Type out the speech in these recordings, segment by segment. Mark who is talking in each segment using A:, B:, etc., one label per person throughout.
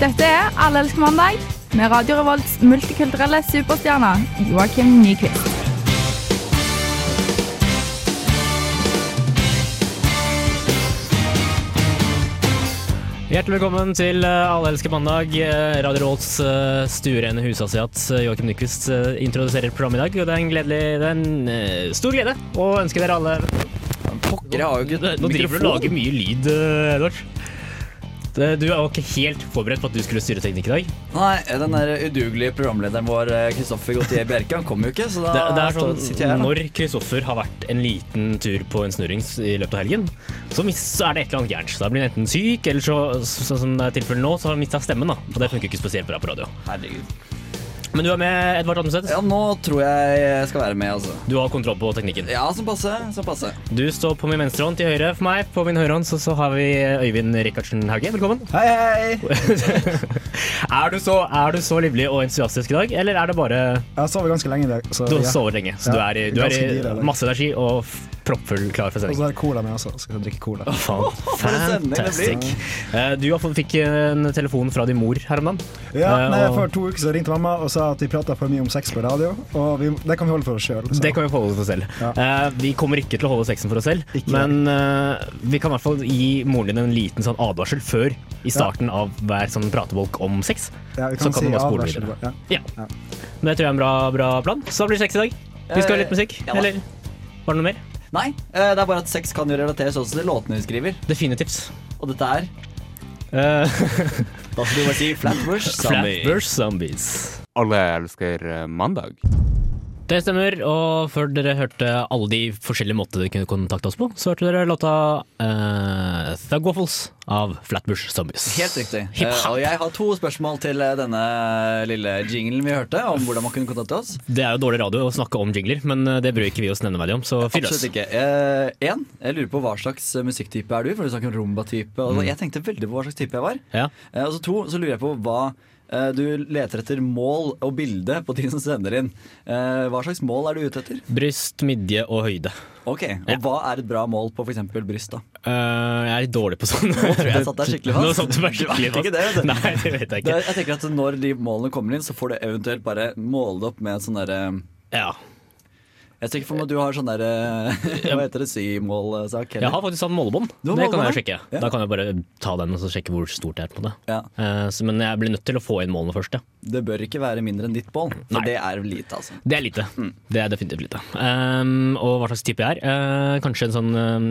A: Dette er Alle elsker mandag med Radio Revolts multikulturelle superstjerne Joakim Nyquist.
B: Hjertelig velkommen til eh, Alle elsker mandag. Eh, Radio Rolls eh, stuerene husasiat eh, Joakim Nyquist eh, introduserer programmet i dag. og Det er en, gledelig, det er en eh, stor glede å ønske dere alle
C: Dere har jo ikke
B: Nå driver du og lager mye lyd, eh, Edvard. Det- Du er jo ikke helt forberedt på at du skulle styre teknikk i dag.
C: Nei, den der udugelige programlederen vår, eh, Kristoffer Gautier Bjerke, han kom jo ikke, så da
B: Det, det er
C: står- sitter jeg
B: sånn,
C: her. da.
B: Når Kristoffer har vært en liten tur på en snurrings i løpet av helgen, så, mis, så er det et eller annet gærent. Da blir han enten syk, eller så, så, sånn som det er tilfellet nå, så har han mista stemmen. da. Og det funker ikke spesielt bra på radio.
C: Herregud.
B: Men du er med, Edvard Adamseth.
C: Ja, nå tror jeg jeg skal være med, altså.
B: Du har kontroll på teknikken.
C: Ja, som passe. Som passe.
B: Du står på min venstre hånd til høyre for meg. På min høyre hånd så, så har vi Øyvind Rikardsen Hauge. Velkommen.
C: Hei, hei!
B: Er du, så, er du så livlig og entusiastisk i dag, eller er det bare
D: Jeg har sovet ganske lenge i dag. Så,
B: Du har
D: ja.
B: sovet lenge, så du
D: Ja,
B: er i, du er
D: ganske dyr,
B: i
D: eller?
B: masse energi og f- proppfull klar for
D: Og
B: sending.
D: så er det cola med også. Skal jeg drikke cola.
B: Faen,
C: sending det blir.
B: Fantastic. Eh, Du har fått- fikk en telefon fra din mor her om dagen.
D: Ja,
B: Eh,
D: nei,
B: og
D: For to uker så ringte mamma og sa at vi prata for mye om sex på radio. Og vi, det kan vi holde for oss liksom. sjøl.
B: Det kan vi forholde oss til selv. Eh, Vi kommer ikke til å holde sexen for oss selv,
D: Ikke
B: men eh, vi kan i hvert fall gi moren din en liten sånn advarsel før, i starten av hver sånn pratebolk om sex.
D: Ja, vi
B: så
D: kan
B: kan
D: si
B: du bare spole
D: advarsel.
B: videre.
D: Ja.
B: Ja.
D: Ja.
B: Men det tror jeg er en bra, bra plan. Så da blir det sex i dag. Vi skal ha litt musikk.
C: Ja da.
B: Eller var det noe mer?
C: Nei, eh, det er bare at sex kan jo relateres også til låtene vi skriver.
B: Definitivt.
C: Og dette er
B: Uh,
C: Da skal du bare si Flatbush Zombie.
B: Flatbush Zombies.
E: Alle elsker eh, mandag.
B: Det stemmer, og før dere hørte alle de forskjellige måter dere kunne kontakte oss på, så hørte dere låta uh, Thug Waffles av Flatbush Zombies.
C: Helt riktig.
B: Hip
C: Eh,
B: hop.
C: og jeg har to spørsmål til eh, denne lille jinglen vi hørte, om hvordan man kunne kontakte oss.
B: Det er jo dårlig radio å snakke om jingler, men eh, det bryr ikke vi oss nevneverdig om, så fyr løs.
C: Absolutt ikke. Eh, En, jeg lurer på hva slags eh, musikktype er du? For du snakker om rumba-type. og Jeg tenkte veldig på hva slags type jeg var.
B: Ja.
C: Eh, Og så to, så lurer jeg på hva eh, du leter etter mål og bilde på de som sender inn. Eh, Hva slags mål er du ute etter?
B: Bryst, midje og høyde.
C: Ok, Og hva er et bra mål på f.eks. bryst? da?
B: Eh, jeg er litt dårlig på sånn. Nå
C: tror jeg jeg satt deg skikkelig fast.
B: Nå satt du meg
C: Du vet
B: skikkelig fast.
C: ikke det, vet du.
B: Nei, det vet jeg
C: Det,
B: ikke.
C: jeg tenker at Når de målene kommer inn, så får du eventuelt bare måle det opp med sånn derre
B: Ja.
C: Jeg tenker for meg at du har sånn derre Hva heter det? Symålsak?
B: Jeg har faktisk sånn målebånd.
C: Du
B: Det
C: har
B: kan jeg
C: målebånd,
B: sjekke.
C: ja.
B: Da kan jeg bare ta den og så sjekke hvor stort det er. på det.
C: Ja.
B: Eh, så- Men jeg blir nødt til å få inn målene først. Ja.
C: Det bør ikke være mindre enn ditt mål, for
B: Nei.
C: det er lite, altså.
B: Det er lite. Det er definitivt lite. Um, og hva slags type jeg er? Eh, kanskje en sånn um,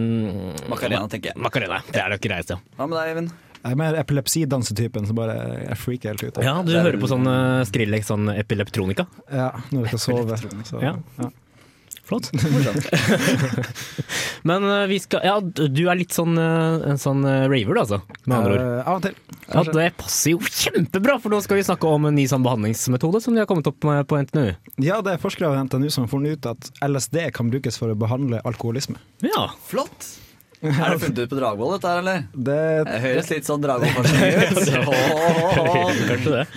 C: Macarena, tenker jeg.
B: Macarena. Det er det greieste.
C: Hva med deg, Eivind?
D: Jeg er mer epilepsidansetypen som bare jeg freaker helt ut.
B: Ja, du
C: Det er
B: hører
C: vel-
B: på sånn uh, Skrillex, sånn epileptronika.
D: Ja, når jeg skal sove. Så,
B: liksom. Ja.
D: ja.
B: Flott.
C: Morsomt.
B: Men eh, vi skal Ja, du er litt sånn eh, en sånn eh, raver, du, altså. Med andre ord.
D: Eh, av og til.
B: Ja, det passer jo kjempebra, for nå skal vi snakke om en ny sånn behandlingsmetode som de har kommet opp med på NTNU.
D: Ja, det er forskere ved NTNU som har funnet ut at LSD kan brukes for å behandle alkoholisme.
B: Ja.
C: Flott! Er det funnet ut på Dragvoll, dette her, eller?
D: Det,
C: Det høres litt sånn Dragvoll-forskning ut. Åh.
B: Kanskje det.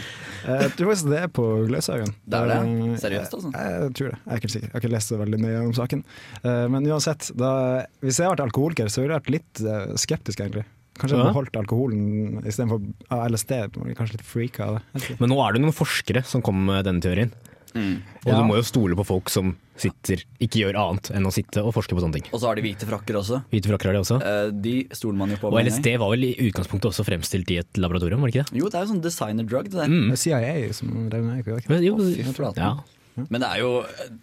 D: jeg tror faktisk det er på Gløshaugen.
C: Det er det?
D: Eh,
C: Seriøst, altså?
D: Jeg, jeg tror det. Jeg er ikke helt sikker. Jeg har ikke lest så veldig nøye om saken. Eh, Men uansett, da, hvis jeg hadde vært alkoholiker, så ville jeg vært litt eh, skeptisk, egentlig. Kanskje jeg
B: Ja.
D: hadde holdt alkoholen istedenfor av LSD. Man blir Kanskje litt freaka av det. Jeg vet ikke.
B: Men nå er det noen forskere som kommer med denne teorien. Og
D: Ja.
B: du må jo stole på folk som sitter, ikke gjør annet enn å sitte og forske på sånne ting.
C: Og så har de hvite frakker også.
B: Hvite frakker er det også.
C: Eh, De stoler man jo på.
B: Og
C: med en gang.
B: LSD var vel i utgangspunktet også fremstilt i et laboratorium, var det ikke det?
C: Jo, det er jo sånn designer-drug, det der.
B: Mm.
D: Det er CIA som drev med det. ikke?
B: Men, jo,
C: Å, fy flate.
B: ja.
C: Men det er jo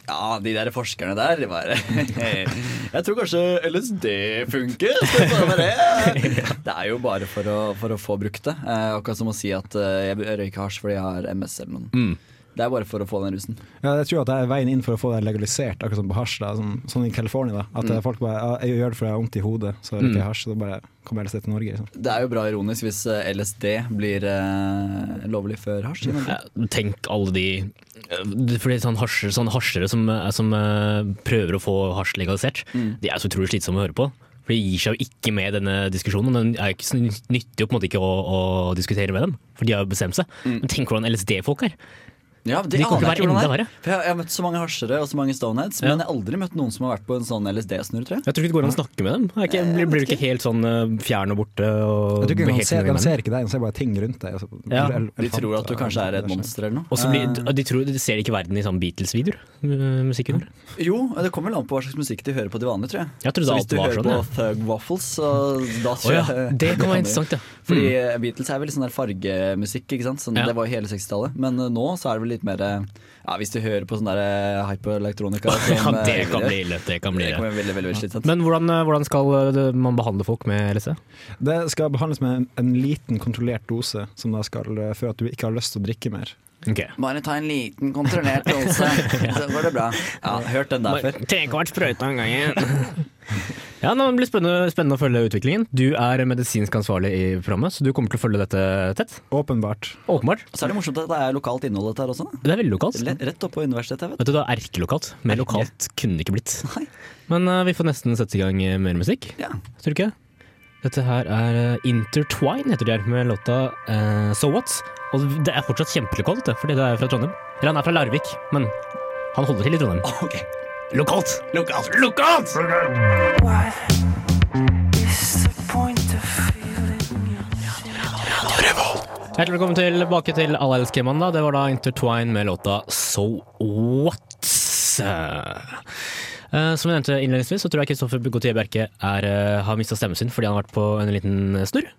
C: Ja, de der forskerne der, de bare Jeg tror kanskje LSD funker. skal jeg prøve det? Det er jo bare for å, for å få brukt det. Eh, Akkurat som å si at eh, jeg røyker hasj fordi jeg har MS eller noe.
B: Mm.
C: Det er bare for å få den rusen.
D: Ja, jeg tror at det er veien inn for å få det legalisert, akkurat som på hasj. da, som- Sånn i California. da, At eh, folk bare ja, Jeg gjør det fordi jeg har vondt i hodet, så røyker jeg hasj, så da bare kommer LSD til Norge. liksom.
C: Det er jo bra ironisk hvis eh, LSD blir eh, lovlig før hasj. i Norge.
B: Ja, Tenk alle de Fordi sånn hasjer, sånn hasjere som, som eh, prøver å få hasj legalisert,
C: Mm.
B: de er så utrolig slitsomme å høre på. For de gir seg jo ikke med denne diskusjonen. og Den er jo ikke så
C: Mm.
B: nyttig å, på en måte ikke å, å diskutere med dem, for de har jo bestemt seg. Men tenk hvordan LSD-folk er.
C: Ja,
B: De
C: det aner
B: kommer til å
C: jeg
B: være
C: ikke hvordan
B: enda
C: det er.
B: verre.
C: For jeg, jeg har møtt så mange hasjere og så mange stoneheads,
B: Ja.
C: men jeg har aldri møtt noen som har vært på en sånn LSD-snurr, tror jeg.
B: Jeg tror ikke det går an å snakke med dem. Er ikke, blir, blir du Eh, ikke helt sånn eh, fjern og borte? Og
D: Jeg tror ikke
B: blir
D: de
B: helt
D: ser,
B: uenig med dem?
D: de ser ikke deg, de ser bare ting rundt deg.
B: Ja,
D: altså, el-
C: De
D: elefanter
C: tror at du
D: og-
C: kanskje er et
D: det skjer.
C: monster eller noe.
B: Og så blir, de, tror, de ser ikke verden i sånn Beatles-videoer. eh, Musikken.
C: Jo, det kommer vel an på hva slags musikk de hører på til vanlig, tror jeg.
B: Jeg trodde
C: så
B: alt
C: hvis du
B: var
C: hører
B: sånn,
C: på
B: ja.
C: Thug Waffles, så da
B: Å
C: tror
B: ja,
C: jeg
B: det kan være
C: de-
B: interessant, ja.
C: Fordi eh, Beatles er veldig sånn der fargemusikk, ikke sant? Sånn,
B: Ja.
C: det var jo hele 60-tallet. Men eh, nå så er det vel litt mer eh, Ja, hvis du hører på sånn der eh, hyperelektronika
B: Ja,
C: som, eh,
B: det kan
C: gjør,
B: bli ille. Det kan bli
C: Det
B: ille.
C: kommer veldig, veldig, veldig slitsomt.
B: Men hvordan, eh, hvordan skal eh, det- man behandle folk med LSD?
D: Det skal behandles med en, en liten, kontrollert dose som da skal eh, føre at du ikke har lyst til å drikke mer.
B: Okay.
C: Bare ta en liten kontrollert dose, så går det bra. Ja, hørt den der før.
B: Trekvart sprøyte av gangen. ja, nå, det blir spennende, spennende å følge utviklingen. Du er medisinsk ansvarlig i programmet, så du kommer til å følge dette tett.
D: Åpenbart.
B: Åpenbart.
C: Så er det morsomt at det er lokalt innhold dette her også. Da.
B: Det er veldig lokalt.
C: Le- Rett oppe på universitetet, vet du.
B: Vet du, det er erkelokalt. Mer lokalt kunne det ikke blitt.
C: Nei.
B: Men eh, vi får nesten sette i gang eh, mer musikk.
C: Ja.
B: Tror du ikke? Dette her er eh, Intertwine, heter de her, med låta eh, So What. Og det er fortsatt kjempelokalt, dette, fordi det er fra Trondheim. Eller han er fra Larvik, men han holder til i Trondheim.
C: Ok,
B: Lokalt!
C: lokalt.
B: Lokalt!
F: What is the point of feeling
B: Hjertelig velkommen tilbake til Allelskemannen. da. Det var da Intertwine med låta So What. Eh, Som jeg nevnte innledningsvis, så tror jeg Kristoffer Gautier Bjerke er, eh, har mista stemmen sin fordi han har vært på en liten snurr.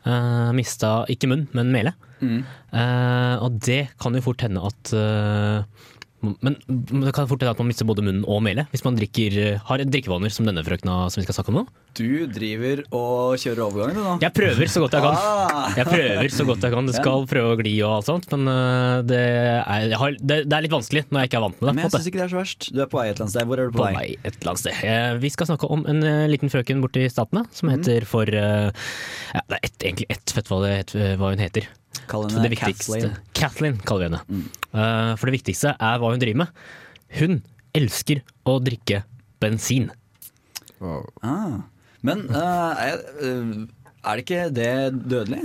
B: Uh, mista ikke munn, men mele. Eh, og det kan jo fort hende at eh, men, men det kan fort hende at man mister både munnen og mele hvis man drikker, eh, har drikkevaner som denne frøkna som vi skal snakke om nå.
C: Du driver og kjører overgangen, du nå.
B: Jeg prøver så godt jeg kan.
C: Ah.
B: Jeg prøver så godt jeg kan. Det skal prøve å gli og alt sånt, men øh, det er, jeg har, det, det er litt vanskelig når jeg ikke er vant med det. på
C: Men
B: en
C: jeg
B: måte.
C: syns ikke det er så verst. Du er på vei et eller annet sted. Hvor er du på,
B: På vei et eller annet sted. Eh, Vi skal snakke om en eh, liten frøken borti Statene som
C: Mm.
B: heter for eh, ja, Det er ett- egentlig ett fett hva, det, het- hva hun heter.
C: Kall
B: For det
C: henne
B: viktigste
C: Kathleen. Mm.
B: Kathleen kaller vi henne. Eh, For det viktigste er hva hun driver med. Hun elsker å drikke bensin.
C: Ah. Men eh, er, eh, er det ikke det dødelig?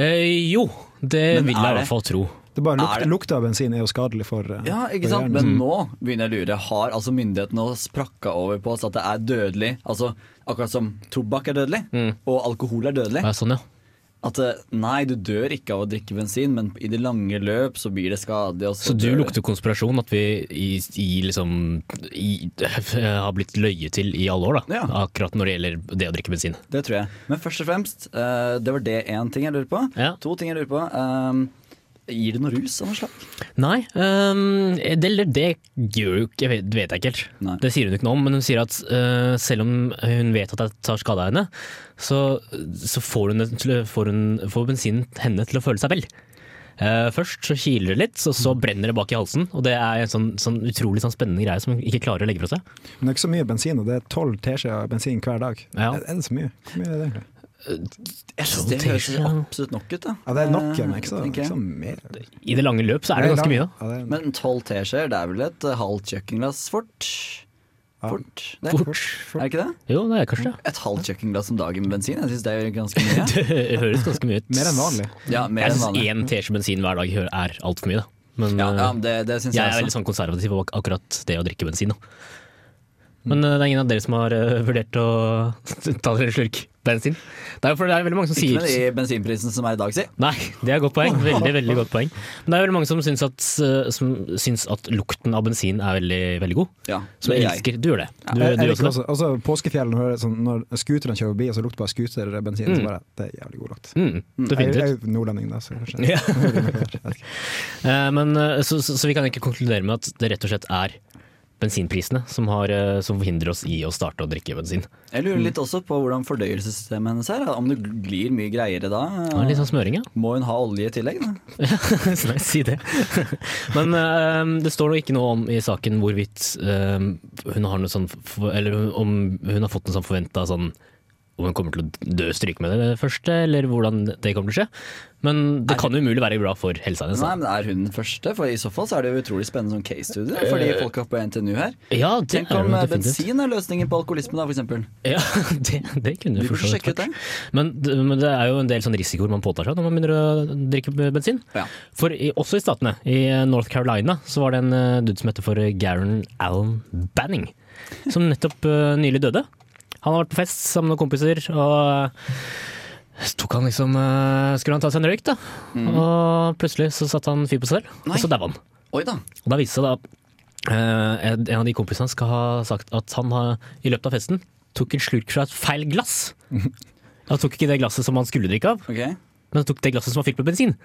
B: Eh, jo, det
C: Men
B: vil jeg
C: er
B: i
C: det-
B: hvert fall tro.
D: Det er bare
C: Er
D: lukt,
C: det-
D: Lukta av bensin er jo skadelig for eh,
C: Ja, ikke
D: for
C: sant?
D: hjernen.
C: Men nå begynner jeg å lure. Har altså myndighetene sprakka over på oss at det er dødelig? Altså akkurat som tobakk er dødelig, og alkohol er dødelig.
B: Eh, Sånn, ja.
C: At eh, nei, du dør ikke av å drikke bensin, men i det lange løp så blir det skadelig. Og
B: Så du
C: dør
B: lukter konspirasjon at vi i, i liksom i, har blitt løyet til i alle år, da.
C: Ja.
B: Akkurat når det gjelder det å drikke bensin.
C: Det tror jeg. Men først og fremst, eh, det var det én ting jeg lurer på.
B: Ja.
C: To ting jeg lurer på. Eh, gir det noe rus av noe slag?
B: Nei, øhm, det, eller det gjør jo ikke Jeg vet, det vet jeg ikke helt.
C: Nei.
B: Det sier hun ikke noe om, men hun sier at øh, selv om hun vet at jeg tar skade av henne, så, så får, hun, det til- får, hun, får bensinen henne til å føle seg vel. Eh, først så kiler det litt, og så brenner det bak i halsen. Og det er en sånn, sånn utrolig sånn spennende greie som hun ikke klarer å legge fra seg.
D: Men det er ikke så mye bensin, og det er tolv teskjeer bensin hver dag.
B: Ja.
D: Er, er det så mye? Hvor mye er det egentlig?
C: Jeg synes det
B: Sånn
C: høres
B: tenker jeg.
C: absolutt nok ut. da
D: Ja, det er nok,
C: Eh,
D: men ikke Liksom. så,
C: tenker
D: ikke
C: jeg.
D: så mer.
B: I det lange løp så er det ganske mye, da.
D: Ja, det er-
C: Men tolv teskjeer, det er vel et eh, halvt kjøkkenglass fort?
D: Ja.
C: Fort? Det.
B: Fort.
C: Er det ikke det?
B: Jo, det er kanskje det.
C: Et halvt kjøkkenglass om dagen med bensin? Jeg syns det er ganske mye.
B: Det høres ganske mye ut.
D: Mer enn vanlig.
C: Ja, mer
B: jeg
C: enn
B: syns
C: vanlig.
B: én teskje bensin hver dag hø- er altfor mye, da. Men
C: Ja, ja,
B: eh,
C: men det, det syns
B: jeg
C: jeg,
B: er veldig
C: også.
B: sånn konservativ bak akkurat det å drikke bensin, da. Men eh, det er ingen av dere som har eh, vurdert å ta dere en slurk bensin? Det er jo for det er veldig mange som
C: Ikke
B: sier
C: med de bensinprisene som er i dag, si.
B: Nei, det er et godt poeng. Veldig, veldig godt poeng. Men det er veldig mange som syns at, eh, som syns at lukten av bensin er veldig, veldig god.
C: Ja,
B: Som
C: det er jeg.
B: elsker Du gjør det. Du,
D: Jeg- jeg
B: du
D: liker
B: også det.
D: også, også påskefjellet, når, det er sånn, når scooteren kjører forbi, og så lukter bare scooterbensin, så bare Det er jævlig god lukt.
B: Mm,
D: Jeg,
B: definitivt.
D: jeg er jo nordlending, da, så kanskje
B: Ja.
D: Jeg vet ikke.
B: Eh, Men, eh, så, så, så vi kan egentlig konkludere med at det rett og slett er bensinprisene som, har, eh, som forhindrer oss i å starte å drikke bensin.
C: Jeg
B: Mm.
C: lurer litt også på hvordan fordøyelsessystemet hennes er. da. Om det glir mye greiere da.
B: Det var litt sånn smøring, ja.
C: Må hun ha olje i tillegg? Da?
B: Nei, si det. Men eh, det står nå ikke noe om i saken hvorvidt eh, hun har noe sånn f- Eller om hun har fått en sånn forventa sånn om hun kommer til å dø stryke med det første, eller hvordan det kommer til å skje. Men det kan jo umulig være bra for helsa hennes.
C: Nei,
B: da.
C: men Er hun den første? For I så fall så er det jo utrolig spennende som case-studie for de folka på NTNU her.
B: Ja, det
C: Tenk
B: er
C: om
B: jo
C: eh,
B: definitivt.
C: bensin er løsningen på alkoholisme, da, for eksempel.
B: Ja, det, det kunne
C: Vi
B: jo for
C: burde
B: så vidt
C: sjekke ut
B: vært.
C: det.
B: Men, d- men det er jo en del sånne risikoer man påtar seg når man begynner å drikke b- bensin.
C: Ja.
B: For i, også i statene, i eh, North Carolina, så var det en eh, dude som heter for Garen Allen Banning, som nettopp eh, nylig døde. Han har vært på fest sammen med noen kompiser, og så tok han liksom eh, Skulle han ta seg en røyk, da? Og plutselig så satte han fyr på seg selv,
C: Mm. Nei.
B: og så daua han.
C: Oi da.
B: Og da viste det seg da eh, en en av de kompisene hans skal ha sagt at han har, i løpet av festen tok en slurk fra et feil glass. Han tok ikke det glasset som han skulle drikke av,
C: Ok.
B: men han tok det glasset som var fylt med bensin.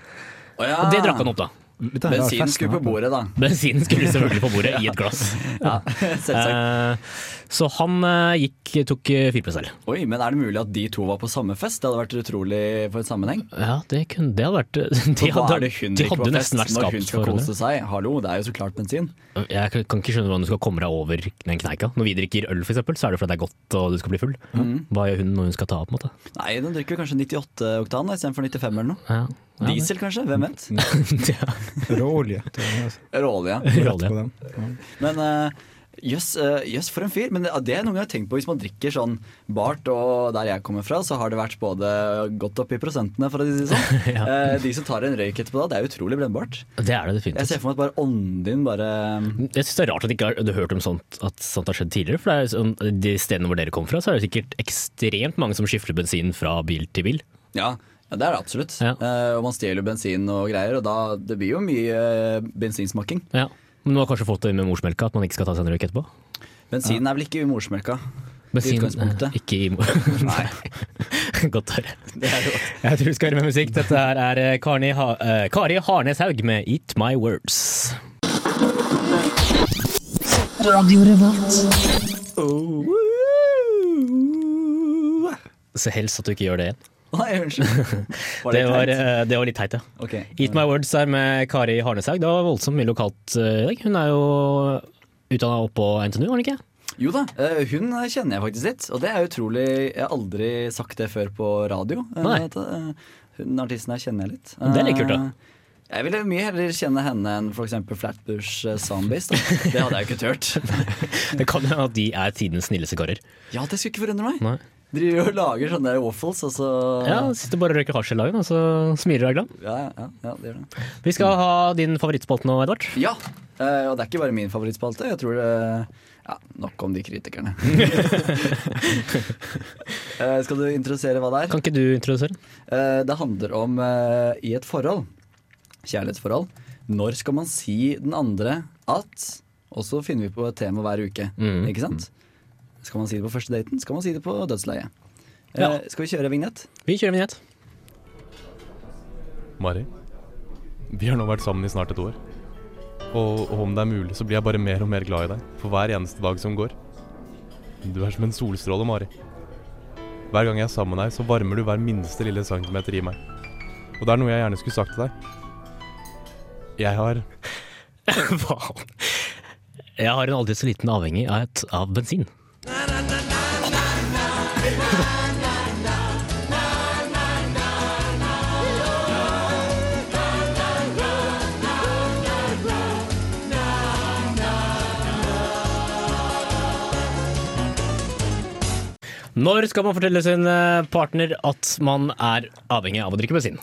C: Å ja.
B: Og det drakk han opp, da.
D: Litt av en rar
C: Bensinen
D: fest
C: skulle på
D: han har.
C: bordet, da.
B: Bensinen skulle selvfølgelig på bordet i et glass.
C: Ja, selvsagt.
B: Eh, så han eh, gikk, tok eh, fyr på seg selv.
C: Oi, men er det mulig at de to var på samme fest? Det hadde vært utrolig for en sammenheng.
B: Ja, det kunne det hadde vært De
C: For hva er
B: hadde,
C: det hun
B: de
C: drikker
B: hadde
C: på fest
B: nesten vært
C: når hun
B: skapt
C: skal
B: for
C: kose
B: det.
C: seg? Hallo, det er jo så klart bensin.
B: Jeg kan kan ikke skjønne hvordan du skal komme deg over den kneika. Når vi drikker øl, for eksempel, så er det fordi det er godt og du skal bli full.
C: Mm.
B: Hva gjør hun når hun skal ta av, på en måte?
C: Nei, den drikker kanskje 98 oktan da, istedenfor 95 eller noe.
B: Ja. Ja, det-
C: Diesel kanskje, hvem vet?
D: Råolje. det var det.
C: Råolje.
D: Rett på den.
C: Men eh, jøss, eh, jøss, for en fyr. Men det det er noen jeg har tenkt på hvis man drikker sånn bart, og der jeg kommer fra, så har det vært både godt opp i prosentene, for å si det sånn.
B: Ja.
C: Eh, De som tar en røyk etterpå da, det er utrolig brennbart.
B: Det er det definitivt.
C: Jeg ser for meg at bare ånden din bare
B: Jeg synes det er rart at ikke har- du har hørt om sånt, at sånt har skjedd tidligere. For det er jo sånn, de stedene hvor dere kommer fra, så er det sikkert ekstremt mange som skifter bensin fra bil til bil.
C: Ja, ja det er det absolutt.
B: Ja.
C: Eh, og man stjeler jo bensin og greier, og da det blir jo mye eh, bensinsmaking.
B: Ja. Men du har kanskje fått det med morsmelka, at man ikke skal ta seg en røyk etterpå?
C: Bensinen er vel ikke i morsmelka?
B: Bensin,
C: utgangspunktet.
B: eh, ikke i mor...
C: Nei.
B: Godt å høre.
C: Det er jo
B: Jeg tror vi skal høre med musikk. Dette her er eh, Karni, ha eh, Kari Harnes Haug med Eat My Words.
C: Oh,
B: Så helst at du ikke gjør det igjen.
C: Nei, unnskyld. Var
B: Det
C: det
B: var,
C: kleint?
B: eh, det var litt teit, ja.
C: Ok.
B: Eat My Words er med Kari Harneshaug. Det var voldsomt mye lokalt eh, i dag. Hun er jo utdanna oppå NTNU, var hun ikke?
C: Jo da, eh, hun kjenner jeg faktisk litt. Og det er utrolig Jeg har aldri sagt det før på radio. eh,
B: Nei.
C: at, eh, Hun artisten her kjenner jeg litt.
B: Det er litt kult, da.
C: Eh, Jeg ville mye heller kjenne henne enn f.eks. Flatbush eh, Zombies. Da. Det hadde jeg jo ikke turt.
B: Det kan hende at de er tidens snilleste karer.
C: Ja, det skulle ikke forundre meg.
B: Nei.
C: Driver og lager sånne der waffles, og så
B: Ja, Sitter bare og røyker hasj hele dagen, og så smiler du deg glad.
C: ja, ja, ja, det gjør det.
B: Vi skal ha din favorittspalte nå, Edvard.
C: Ja, eh, og det er ikke bare min favorittspalte. Jeg tror det ja, Nok om de kritikerne. Eh, Skal du introdusere hva det er?
B: Kan ikke du introdusere?
C: Eh, Det handler om eh, i et forhold, kjærlighetsforhold, når skal man si den andre at Og så finner vi på et tema hver uke,
B: Mm.
C: ikke sant? Skal man si det på første daten? Skal man si det på dødsleiet? Eh,
B: Ja.
C: Skal vi kjøre vignett?
B: Vi kjører vignett.
G: Mari, vi har nå vært sammen i snart et år. Og, og om det er mulig, så blir jeg bare mer og mer glad i deg for hver eneste dag som går. Du er som en solstråle, Mari. Hver gang jeg er sammen med deg, så varmer du hver minste lille centimeter i meg. Og det er noe jeg gjerne skulle sagt til deg. Jeg har
B: Faen. Jeg har en aldri så liten avhengighet av bensin. Når skal man fortelle sin eh, partner at man er avhengig av å drikke bensin?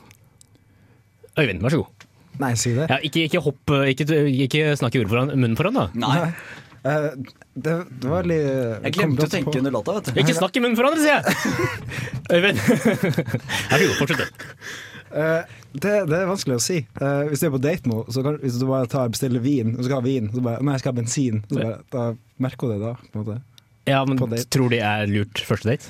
B: Øyvind, vær så god.
D: Nei, si det.
B: Ja, ikke, ikke hopp, eh, ikke, ikke snakk i ord foran munnen foran, da.
C: Nei.
D: Eh, Det, det var litt eh,
C: Jeg glemte å tenke under låta, vet du.
B: Ikke snakk i munnen foran, sier jeg! Øyvind. Vær så god, fortsett. du.
D: Eh, det, det er vanskelig å si. Eh, hvis du er på date nå, så kan, hvis du bare tar og bestiller vin, og skal ha vin, så bare Nei, jeg skal ha bensin. Så bare, da merker hun det da, på en måte.
B: Ja, men
D: På date.
B: tror de er lurt første date?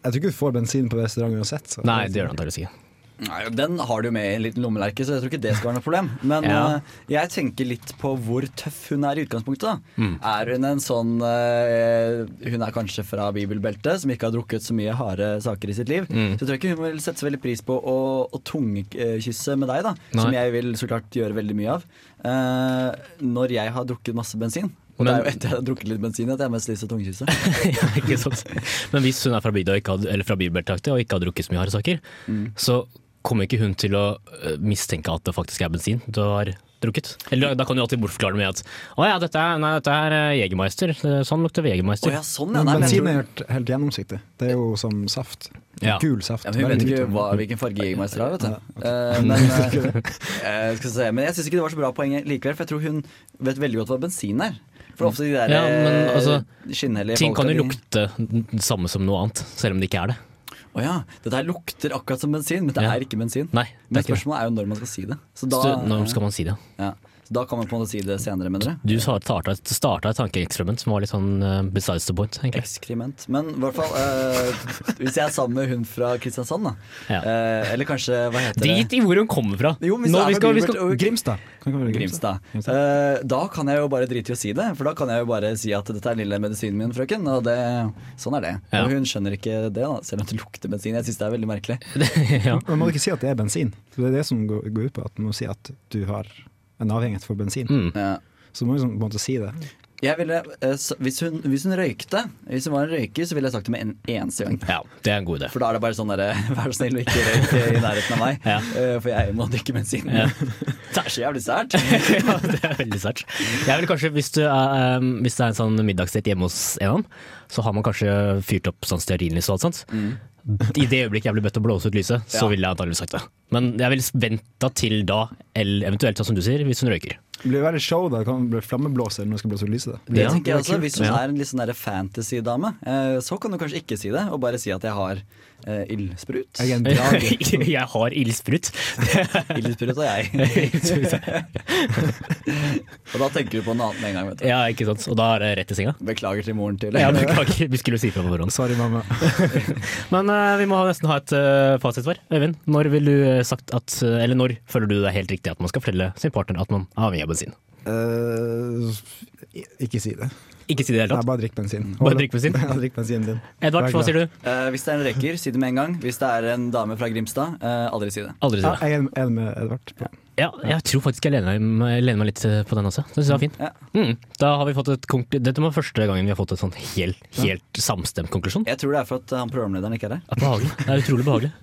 D: Jeg tror ikke du får bensin på restaurant uansett. så-
B: Nei, det gjør de antakeligvis ikke.
C: Nei, Den har du med i en liten lommelerke, så jeg tror ikke det skal være noe problem. Men
B: Ja.
C: eh, jeg tenker litt på hvor tøff hun er i utgangspunktet. da. Er hun en sånn eh, Hun er kanskje fra bibelbeltet, som ikke har drukket så mye harde saker i sitt liv. Så jeg tror ikke hun vil sette så veldig pris på å, å tungekysse med deg, da. Som
B: Nei.
C: jeg vil så klart gjøre veldig mye av. Eh, når jeg har drukket masse bensin. Og det er
B: Men-
C: jo etter jeg har drukket litt bensin at jeg har mest lyst til tungkysse.
B: ja, ikke sant? Men hvis hun er fra bygda og ikke har, eller fra bilbelteaktig og ikke har drukket så mye hardsaker, så kommer ikke hun til å øh, mistenke at det faktisk er bensin du har drukket. Eller da kan du alltid bortforklare det med at å ja, dette er, nei, dette er eh, Jegermeister. Det- Sånn lukter
C: Å
B: Jegermeister.
C: ja, sånn ja.
D: Men
C: Nei, men jeg
D: bensin
C: tror-
D: er helt, helt gjennomsiktig. Det er jo som saft.
B: Ja.
D: Gul saft.
C: ja, men hun vet
D: Veldig
C: ikke
D: lite.
C: hva, hvilken farge Jegermeister har, vet du. Eh, men, eh, eh, skal vi se. men jeg syns ikke det var så bra poeng likevel, for jeg tror hun vet veldig godt hva bensin er. For ofte de der
B: Ja, men,
C: eh,
B: altså,
C: skinnhellige
B: Ting kan
C: folka,
B: jo
C: de-
B: lukte det samme som noe annet, selv om det ikke er det.
C: Å ja, dette her lukter akkurat som bensin, men det
B: Ja.
C: er ikke bensin.
B: Nei, det
C: Men
B: er ikke det.
C: spørsmålet er jo når man skal si det. Så da, eh,
B: Så når skal man si det?
C: ja. så da kan man på en måte si det senere, mener dere?
B: Du starta et, starta et tankeeksperiment som var litt sånn eh, besides the point, egentlig.
C: Ekskrement. Men i hvert fall, eh, hvis jeg er sammen med hun fra Kristiansand, da.
B: Ja.
C: eh, eller kanskje, hva heter det?
B: Drit i hvor hun kommer fra!
C: Jo, men hvis
B: Nå,
C: det er
B: vi
C: fra
B: skal, vi
C: Gilbert
B: skal,
C: og-
D: Grimstad. Kan ikke være Grimstad.
C: Grimstad. Eh, da kan jeg jo bare drite i å si det, for da kan jeg jo bare si at dette er lille medisinen min, frøken. Og det, sånn er det.
B: Ja.
C: Og hun skjønner ikke det, da, selv om det lukter bensin. Jeg syns det er veldig merkelig.
B: ja.
D: Men Man må ikke si at det er bensin. Det er det som går går ut på at man må si at du har en avhengighet for bensin.
B: Mm.
C: Ja.
D: Så du må liksom på en måte si det.
C: Jeg ville, eh, s- hvis, hun, hvis hun røykte, hvis hun var en røyker, så ville jeg sagt det med en eneste gang.
B: ja, det er en god idé.
C: For da er det bare sånn derre Vær så snill, ikke røyk i nærheten av meg,
B: Ja.
C: eh, for jeg må drikke bensin.
B: Ja.
C: Det er så jævlig sært.
B: ja, det er veldig sært. Jeg vil kanskje, hvis, du er, um, hvis det er en sånn middagsdate hjemme hos en annen, så har man kanskje fyrt opp sånn stearinlys og alt sånt. I det øyeblikket jeg ble bedt å blåse ut lyset, så
C: Mm. Ja.
B: ville jeg antakeligvis sagt det. Men jeg ville venta til da, eller eventuelt sånn som du sier, hvis hun røyker.
D: Det blir veldig show da, det kan bli flammeblåser når du skal blåse ut lyset. da.
C: Det
B: Ja,
C: tenker
B: det er
C: jeg også,
B: kult.
C: Hvis hun
B: Ja.
C: er en litt sånn derre fantasy-dame, eh, så kan du kanskje ikke si det, og bare si at jeg har eh, ildsprut.
D: Jeg er en drage.
B: jeg har ildsprut.
C: Ildsprut og jeg. og da tenker du på noe annet med en gang. vet du.
B: ja, ikke sant. Og da er det rett i senga.
C: Beklager til moren til.
B: Ja, beklager, vi skulle jo si fra på forhånd.
D: Sorry, mamma.
B: Men eh, vi må nesten ha et uh, fasitsvar. Øyvind, når vil du eh, sagt at eh, Eller når føler du det er helt riktig at man skal fortelle sin partner at man er avhengig av bensin?
D: Eh, ikke si det.
B: Ikke si det i det hele
D: Nei,
B: tatt.
D: bare drikk bensin.
B: Bare drikk bensin?
D: Ja, drikk bensinen din.
B: Edvard, hva sier du?
C: Eh, hvis det er en røyker, si det med en gang. Hvis det er en dame fra Grimstad, eh, aldri si det.
B: Aldri si
D: Ja,
B: det.
D: jeg er enig med Edvard. på-
B: Ja, jeg tror faktisk jeg lener meg, lener meg litt eh, på den også. Det synes jeg var fint.
C: Ja.
B: Mm. Da har vi fått et konkl- Dette var første gangen vi har fått et sånn helt, helt samstemt konklusjon.
C: Jeg tror det er for at eh, han programlederen ikke er der.
B: Det er Behagelig. Det er utrolig behagelig.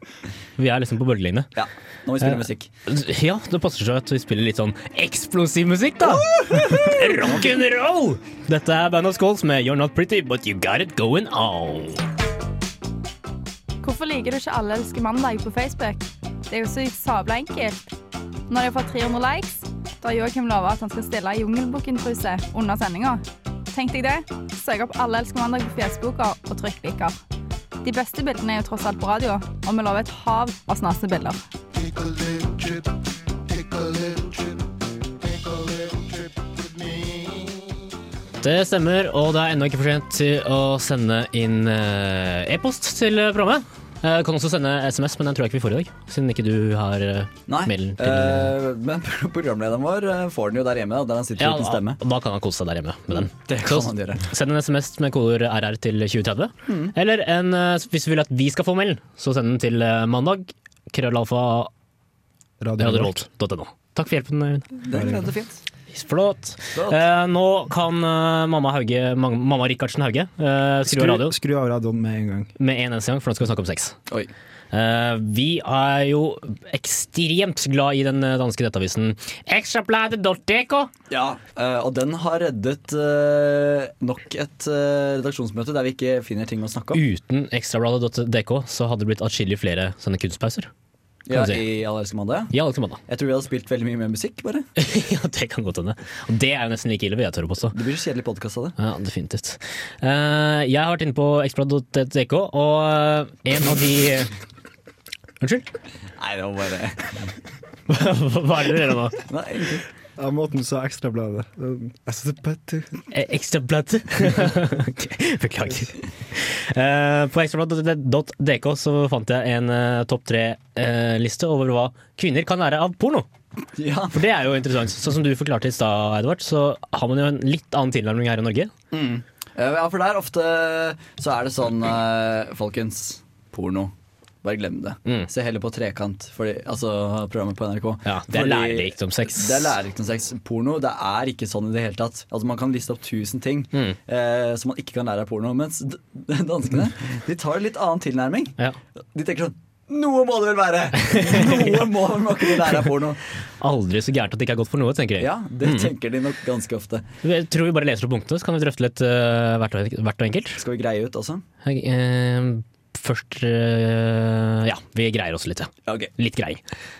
B: Vi er liksom på bølgelengde.
C: Ja, Nå må vi spille musikk.
B: Ja, det passer seg at vi spiller litt sånn eksplosiv musikk, da. Rock'n'roll! Dette er Band of Skulls med You're Not Pretty, But You Got It Going On.
A: Hvorfor liker du ikke Alle elsker mandag på Facebook? Det er jo så sabla enkelt. Når de har fått 300 likes, da har Joakim lova at han skal stille i Jungelbukken-truse under sendinga. Tenk deg det. Søk opp Alle elsker mandag på Facebooka og trykk liker. De beste bildene er jo tross alt på radio, og vi lover et hav av snasende bilder.
B: Det stemmer, og det er ennå ikke for sent til å sende inn eh, e-post til eh, programmet. Eh, kan også sende SMS, men den tror jeg ikke vi får i dag. Siden ikke du har eh,
C: Nei,
B: mailen til
C: eh, men programlederen vår eh, får den jo der hjemme, da, der han sitter
B: Ja,
C: uten stemme.
B: da, da kan han kose seg der hjemme med den.
C: Det
B: Så
C: kan han gjøre. Mm.
B: Send en SMS med kodeord RR til 2030. Eller en, eh, hvis du vil at vi skal få mailen, så send den til eh, mandag. Krøllalfa radiorevolt.no. Takk for hjelpen, Øyvind.
C: Det er det er fint.
B: Flott.
C: Flott.
B: Eh, nå kan eh, mamma, Hauge, mam- mamma Rikardsen Hauge eh, skru av
D: Skru,
B: radioen
D: skru av radioen med en gang.
B: med en eneste gang, for nå skal vi snakke om sex.
C: Oi.
B: Eh, vi er jo ekstremt glad i den eh, danske nettavisen ekstrabladet.dk.
C: Ja, eh, og den har reddet eh, nok et eh, redaksjonsmøte der vi ikke finner ting å snakke om.
B: Uten ekstrabladet.dk så hadde det blitt atskillig flere sånne kunstpauser.
C: Ja,
B: vi
C: I All elsker mandag.
B: Ja,
C: ja.
B: Alexander.
C: Jeg tror vi hadde spilt veldig mye mer musikk, bare.
B: ja, det kan godt hende. Og det er jo nesten like ille, vil jeg tørre å påstå.
C: Det blir så kjedelig podkast av det.
B: Ja, definitivt. Eh, jeg har vært inne på eksplorat.dk, og eh, en av de Unnskyld?
C: Nei, det var bare
B: Hva er det dere gjør nå?
C: Nei, egentlig.
D: Ja, måten du sa ekstrabladet Um, Jeg synes det er better.
B: Eh, Ekstrabladet? Ok, Beklager. Eh, på ekstrabladet.dk så fant jeg en eh, topp tre-liste over hva kvinner kan lære av porno.
C: Ja.
B: For det er jo interessant. Sånn som du forklarte i stad, Edvard, så har man jo en litt annen tilnærming her i Norge.
C: Eh, ja, for der ofte så er det sånn eh, Folkens, eh, porno. Bare glem det.
B: Mm.
C: Se heller på Trekant, fordi, altså programmet på NRK.
B: Ja, det er
C: Fordi-
B: lærerikt om sex.
C: Det er lærerikt om sex. Porno det er ikke sånn i det hele tatt. Altså Man kan liste opp 1000 ting
B: Mm.
C: eh, som man ikke kan lære av porno. Mens d- danskene de tar en litt annen tilnærming.
B: Ja.
C: De tenker sånn Noe må det vel være! Noe må man kunne lære av porno.
B: Aldri så gærent at det ikke er godt for noe, tenker jeg.
C: Ja, det tenker de nok ganske ofte.
B: Jeg tror vi bare leser opp punktene, så kan vi drøfte litt eh, hvert, og, hvert og enkelt.
C: Skal vi greie ut også?
B: Jeg, eh, først eh, Ja, vi greier oss litt, ja.
C: Ja, ok.
B: Litt grei.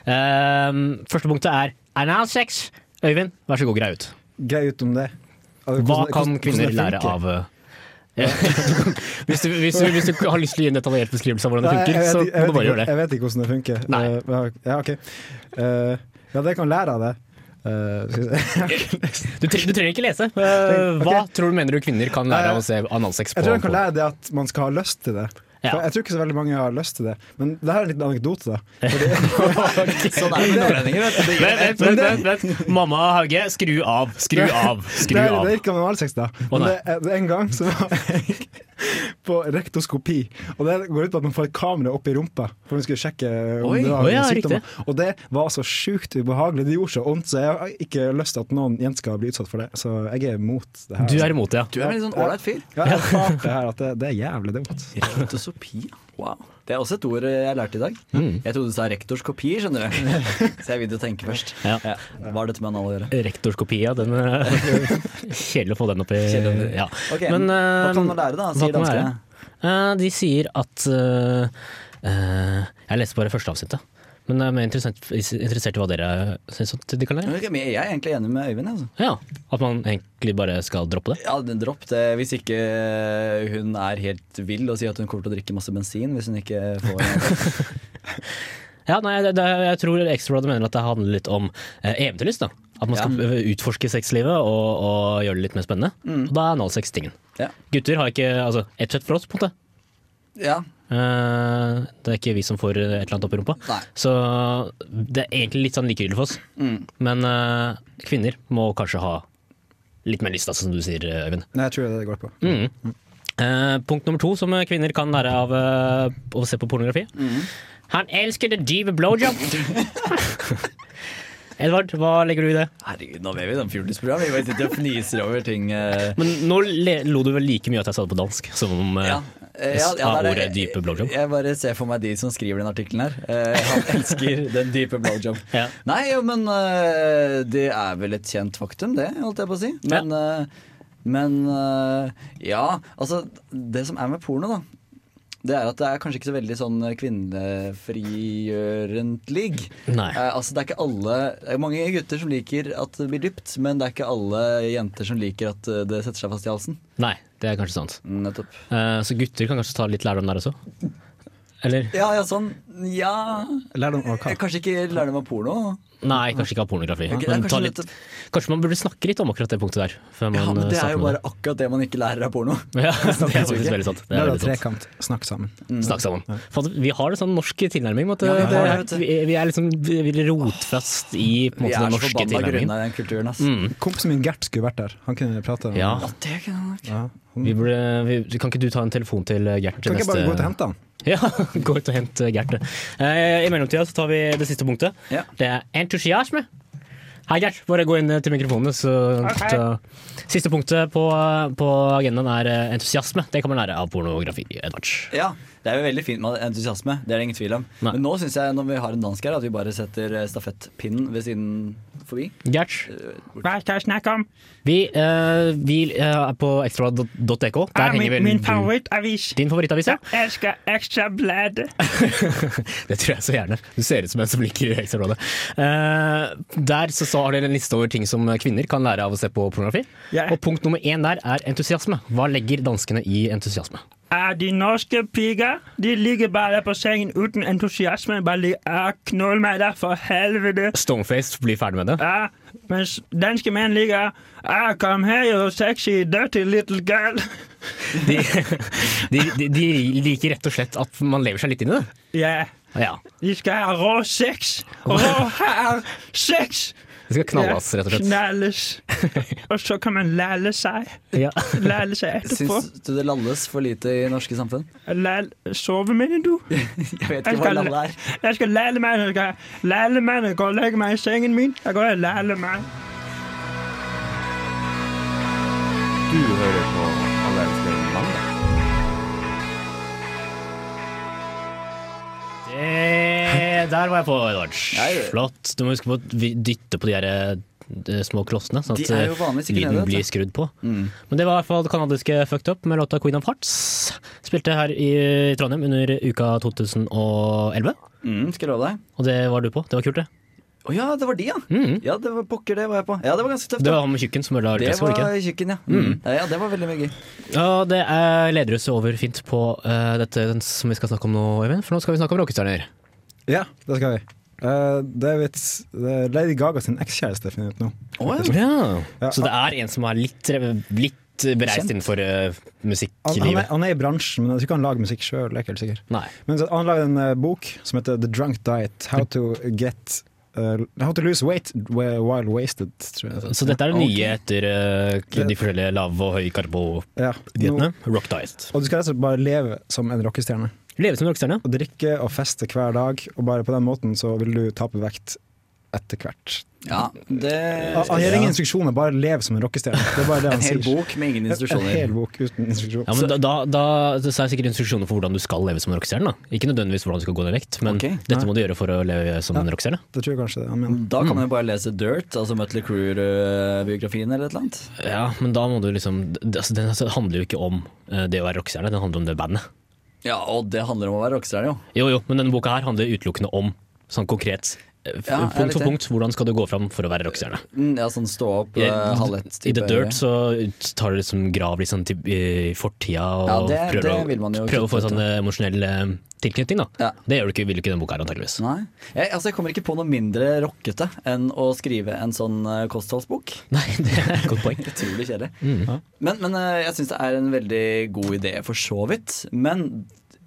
B: Eh, første punktet er anal sex. Øyvind, vær så god, grei ut.
D: Grei ut om det. Altså,
B: Hva
D: hvordan-
B: kan
D: hvordan- hvordan
B: kvinner
D: det
B: lære
D: funker.
B: av eh, hvis, du, hvis, du, hvis du har lyst til å gi en detaljert beskrivelse av hvordan det
D: Nei, jeg
B: funker,
D: vet
B: så
D: ikke- jeg
B: kan du bare
D: vet ikke-
B: gjøre det.
D: Jeg vet ikke hvordan det funker.
B: Nei.
D: Eh, ja, ok. Eh, ja, det kan lære av det. Eh, skal vi se.
B: Du, tre- du trenger ikke lese. Eh,
D: Ok.
B: Hva tror du mener du kvinner kan lære av
D: Eh,
B: å se analsex på?
D: jeg tror jeg kan
B: på-
D: lære det at man skal ha lyst til det.
B: Ja.
D: For jeg tror ikke så veldig mange har lyst til det. Men det her er en liten anekdote, da.
C: Sånn er det med nordlendinger. vet du. Det-
B: Vent, vent, vent, vent, vent. Mamma Hauge, skru av, skru av, skru
D: det, er-
B: av.
D: det er ikke analsex, da. Men
B: nei.
D: det, er- det er en gang så var jeg på rektoskopi. Og det går ut på at man får et kamera opp i rumpa for man skulle sjekke om
C: Oi.
D: det var
B: Oi, ja,
D: noen sykdommer. Og det var så sjukt ubehagelig. Det gjorde så vondt, så jeg har ikke lyst til at noen jenter skal bli utsatt for det. Så jeg er imot det her.
B: Du er imot det, ja.
C: Du er en litt sånn ålreit fyr.
D: ja, jeg har hørt det, her, at det, det er jævlig dumt.
C: Rektosopi, wow. Det er også et ord jeg lærte i dag. Jeg trodde du sa rektors kopi, skjønner du. Så jeg begynte å tenke først.
B: Ja.
C: Ja. Hva har dette med anal å gjøre?
B: Rektorskopi, ja. Den eh, Kjedelig å få den opp i
C: Kjedelig å få den-
B: ja.
C: Ok,
B: Men,
C: Hva
B: eh,
C: kan man lære, da?
B: hva
C: Sier
B: kan man
C: danskene.
B: Eh, de sier at eh, eh, Jeg leste bare første avsnittet. Men jeg er mer interessant, interessert i hva dere syns at de kan lære.
C: Ok, men Jeg er egentlig enig med Øyvind. Altså.
B: Ja, At man egentlig bare skal droppe det.
C: Ja, den Dropp det hvis ikke eh, hun er helt vill og sier at hun kommer til å drikke masse bensin hvis hun ikke får
B: Ja, nei, det, det, Jeg tror Extrabladet mener at det handler litt om eh, eventyrlyst. da At man skal
C: Ja. Mm.
B: eh, utforske sexlivet og, og gjøre det litt mer spennende. Og da er analsex tingen.
C: Ja.
B: Gutter har ikke altså, ett kjøtt for oss, på en måte.
C: ja.
B: Eh, det er ikke vi som får et eller annet opp i rumpa.
C: Nei.
B: Så det er egentlig litt sånn likegyldig for oss.
C: Mm.
B: Men eh, kvinner må kanskje ha litt mer lyst, altså, som du sier, Øyvind.
D: Nei, jeg tror det er det det går på.
B: Mm. Eh, punkt nummer to som kvinner kan lære av eh, å se på pornografi.
C: Mm.
B: Han elsker det dyve blowjob. Edvard, hva legger du i det?
C: Herregud, nå vet vi den fjortisprogrammet. Vi bare sitter og fniser over ting. eh.
B: Men nå le- lo du vel like mye at jeg sa det på dansk som om eh,
C: Ja. Eh, ja, ja,
B: av
C: det er
B: ordet
C: det.
B: dype blowjob.
C: Jeg bare ser for meg de som skriver den artikkelen her. Eh, han elsker den dype blowjob.
B: Ja.
C: Nei, jo, men eh, det er vel et kjent faktum, det, holdt jeg på å si. Men, eh, men eh, ja, altså Det som er med porno, da. Det er at det er kanskje ikke så veldig sånn kvinnefrigjørentlig.
B: Nei.
C: Eh, altså det er ikke alle Det er mange gutter som liker at det blir dypt, men det er ikke alle jenter som liker at eh, det setter seg fast i halsen.
B: Nei, det er kanskje sant.
C: Nettopp.
B: Eh, så gutter kan kanskje ta litt lærdom der også? Eller?
C: Ja, ja, sånn. Ja
D: Lærdom av hva?
C: Jeg Kanskje ikke lærdom av porno?
B: Nei, kanskje ikke av pornografi.
C: Ok, det er
B: men ta
C: kanskje
B: litt,
C: nettopp-
B: kanskje man burde snakke litt om akkurat det punktet der. Før man
C: Ja, men
B: eh,
C: Det er
B: starter
C: jo
B: med
C: bare akkurat det man ikke lærer av porno.
B: Ja, det er
D: ikke.
B: faktisk veldig sant. Det er
D: Lær av
B: veldig sant.
D: trekant, snakk sammen.
B: Snakk sammen. Fader, vi har en sånn norsk tilnærming. om At det,
C: Ja,
B: det
C: vi har
B: er,
C: det, vet du.
B: vi, vi er liksom vi er rotfast i på en måte,
C: Vi er
B: den
C: så
B: norske
C: forbanna
B: tilnærmingen.
C: grunna i den kulturen, ass.
B: Mm,
D: Kompisen min Gert skulle vært der. Han kunne prata om
B: ja.
C: Ja, det kan jeg nok.
D: Ja, han-
B: Vi burde, vi, kan ikke du ta en telefon til eh, Gert?
D: Kan ikke jeg bare gå ut og hente han?
B: Ja, gå ut og hent Gert. Eh, I mellomtida så tar vi det siste punktet.
C: Ja.
B: Det er entusiasme. Hei, Gert. Bare gå inn eh, til mikrofonene. Så, ta- siste punktet på, på agendaen er eh, entusiasme. Det kan man lære av pornografi. Edvard.
C: Ja, Det er jo veldig fint med entusiasme, det er det ingen tvil om.
B: Nei.
C: Men nå syns jeg, når vi har en dansk her, at vi bare setter eh, stafettpinnen ved siden forbi.
B: Gert. Hva er det jeg snakker om? Vi, eh, vi eh, er på extra.dk.
H: Ah,
B: Der henger vel du-
H: favorittavis.
B: Din favorittavis, ja?
H: Jeg elsker Ekstrabladet.
B: Det tror jeg så gjerne. Du ser ut som en som liker Ekstrabladet. Eh, der så, så har dere en liste over ting som kvinner kan lære av å se på pornografi.
H: Ja.
B: Og punkt nummer én der er entusiasme. Hva legger danskene i entusiasme?
H: Er de Ah, norske piger, de ligger bare der på sengen uten entusiasme. Bare ligger ah, Knoll meg der, for helvete.
B: Stoneface blir ferdig med det.
H: Ja, mens Ah, danske menn ligger ah, Come here, you sexy, dirty little girl.
B: De, de, de, de liker rett og slett at man lever seg litt inn i det.
H: Ja,
B: Ja.
H: de skal ha rå sex. Rå her sex.
B: Det skal knalles, rett og slett.
H: Knalles. Og så kan man læle seg.
B: Ja.
H: Læle seg etterpå.
C: Syns du det lalles for lite i norske samfunn?
H: Læl... Sove, mener du?
C: Jeg vet ikke hva
H: Jeg skal-
C: lalle er.
H: Jeg skal læle meg. Jeg skal læle meg når jeg går og legger meg i sengen min. Jeg går og læler meg.
E: Du hører på Alle elsker mandag.
B: Det, der var jeg på, Edvard.
C: Ja, jeg gjør det.
B: Flott. Du må huske på å vi- dytte på de her eh, de små klossene, sånn at
C: De er jo
B: eh,
C: vanligvis ikke
B: lyden
C: nede, vet du. Mm.
B: blir skrudd på. Men det var i hvert fall det kanadiske Fucked Up med låta Queen of Hearts. Spilte her i Trondheim under uka 2011,
C: Mm, skal jeg love deg.
B: og det var du på. Det var kult, det.
C: Å ja, det var de, ja.
B: Mm.
C: Ja, det var pokker, det var jeg på. Ja, det var ganske tøft.
B: Det
C: da.
B: var han med tjukken som ødela
C: det
B: ølglasset, var
C: var
B: det ikke? Mm.
C: i kjøkken, ja. Mm. ja. Ja, det var veldig mye gøy.
B: Ja, det er lederhuset over fint på eh, dette som vi skal snakke om nå, Øyvind. For nå skal vi snakke om rockestjerner.
D: Ja, det skal vi. Eh, det er vits- det er Lady Gaga sin ekskjæreste finner jeg ut nå.
C: Å, ja.
B: Ja.
D: Ja,
B: Så det er en som er litt, litt bereist
C: Kjent.
B: innenfor eh,
D: Han, han, er,
B: musikklivet.
D: han er i bransjen, men jeg tror ikke han lager musikk sjøl. Jeg er ikke helt sikker.
B: Nei.
D: Men så han lager en eh, bok som heter The Drunk Diet. How to get eh, How to lose weight while wasted, tror jeg. det
B: Så dette er det nye etter eh, de forskjellige lav- og høykarbo-diettene.
D: heter. ja. nå-
B: Rock diet.
D: Og du skal rett og slett bare leve som en rockestjerne.
B: Leve som rockestjerne.
D: Og drikke og feste hver dag, og bare på den måten så vil du tape vekt etter hvert.
C: ja, det
D: Han han gir ingen instruksjoner, bare lev som en rockestjerne. Det er bare det
C: En
D: han
C: hel
D: sier.
C: bok med ingen
D: En, en
C: institusjoner.
D: hel bok uten instruksjon.
B: Ja, men da, da, da så er det sikkert instruksjoner for hvordan du skal leve som en rockestjerne. da. Ikke nødvendigvis hvordan du skal gå dialekt, men
C: Ok.
B: dette må du gjøre for å leve som en rockestjerne.
D: Det tror jeg kanskje det han mener.
C: Da kan man jo bare lese Dirt, altså Mutley Crew-biografien eller et eller annet.
B: Ja, men da må du liksom det- altså, Den altså, handler jo ikke om eh, det å være rockestjerne, den handler om det bandet.
C: Ja, og det handler om å være rockestjerne, jo.
B: Jo jo, men denne boka her handler utelukkende om sånn konkret eh, f-
C: Ja, jeg er
B: punkt
C: litt
B: for punkt hvordan skal du gå fram for å være rockestjerne.
C: Mm, Ja, sånn stå opp
B: I,
C: eh, halv ett.
B: I
C: type
B: The Dirt så tar du liksom grav liksom til, i fortida og
C: Ja, det-
B: prøver,
C: det vil man jo
B: å, prøver å få
C: kutte ut,
B: sånn eh, emosjonell eh, tilknytning. da.
C: Ja.
B: Det gjør du ikke, vil ikke i denne boka her, antakeligvis.
C: Nei. Jeg, altså, jeg kommer ikke på noe mindre rockete enn å skrive en sånn eh, kostholdsbok.
B: Nei, det er et godt poeng. Mm.
C: Utrolig kjedelig. Men, men eh, jeg syns det er en veldig god idé, for så vidt. Men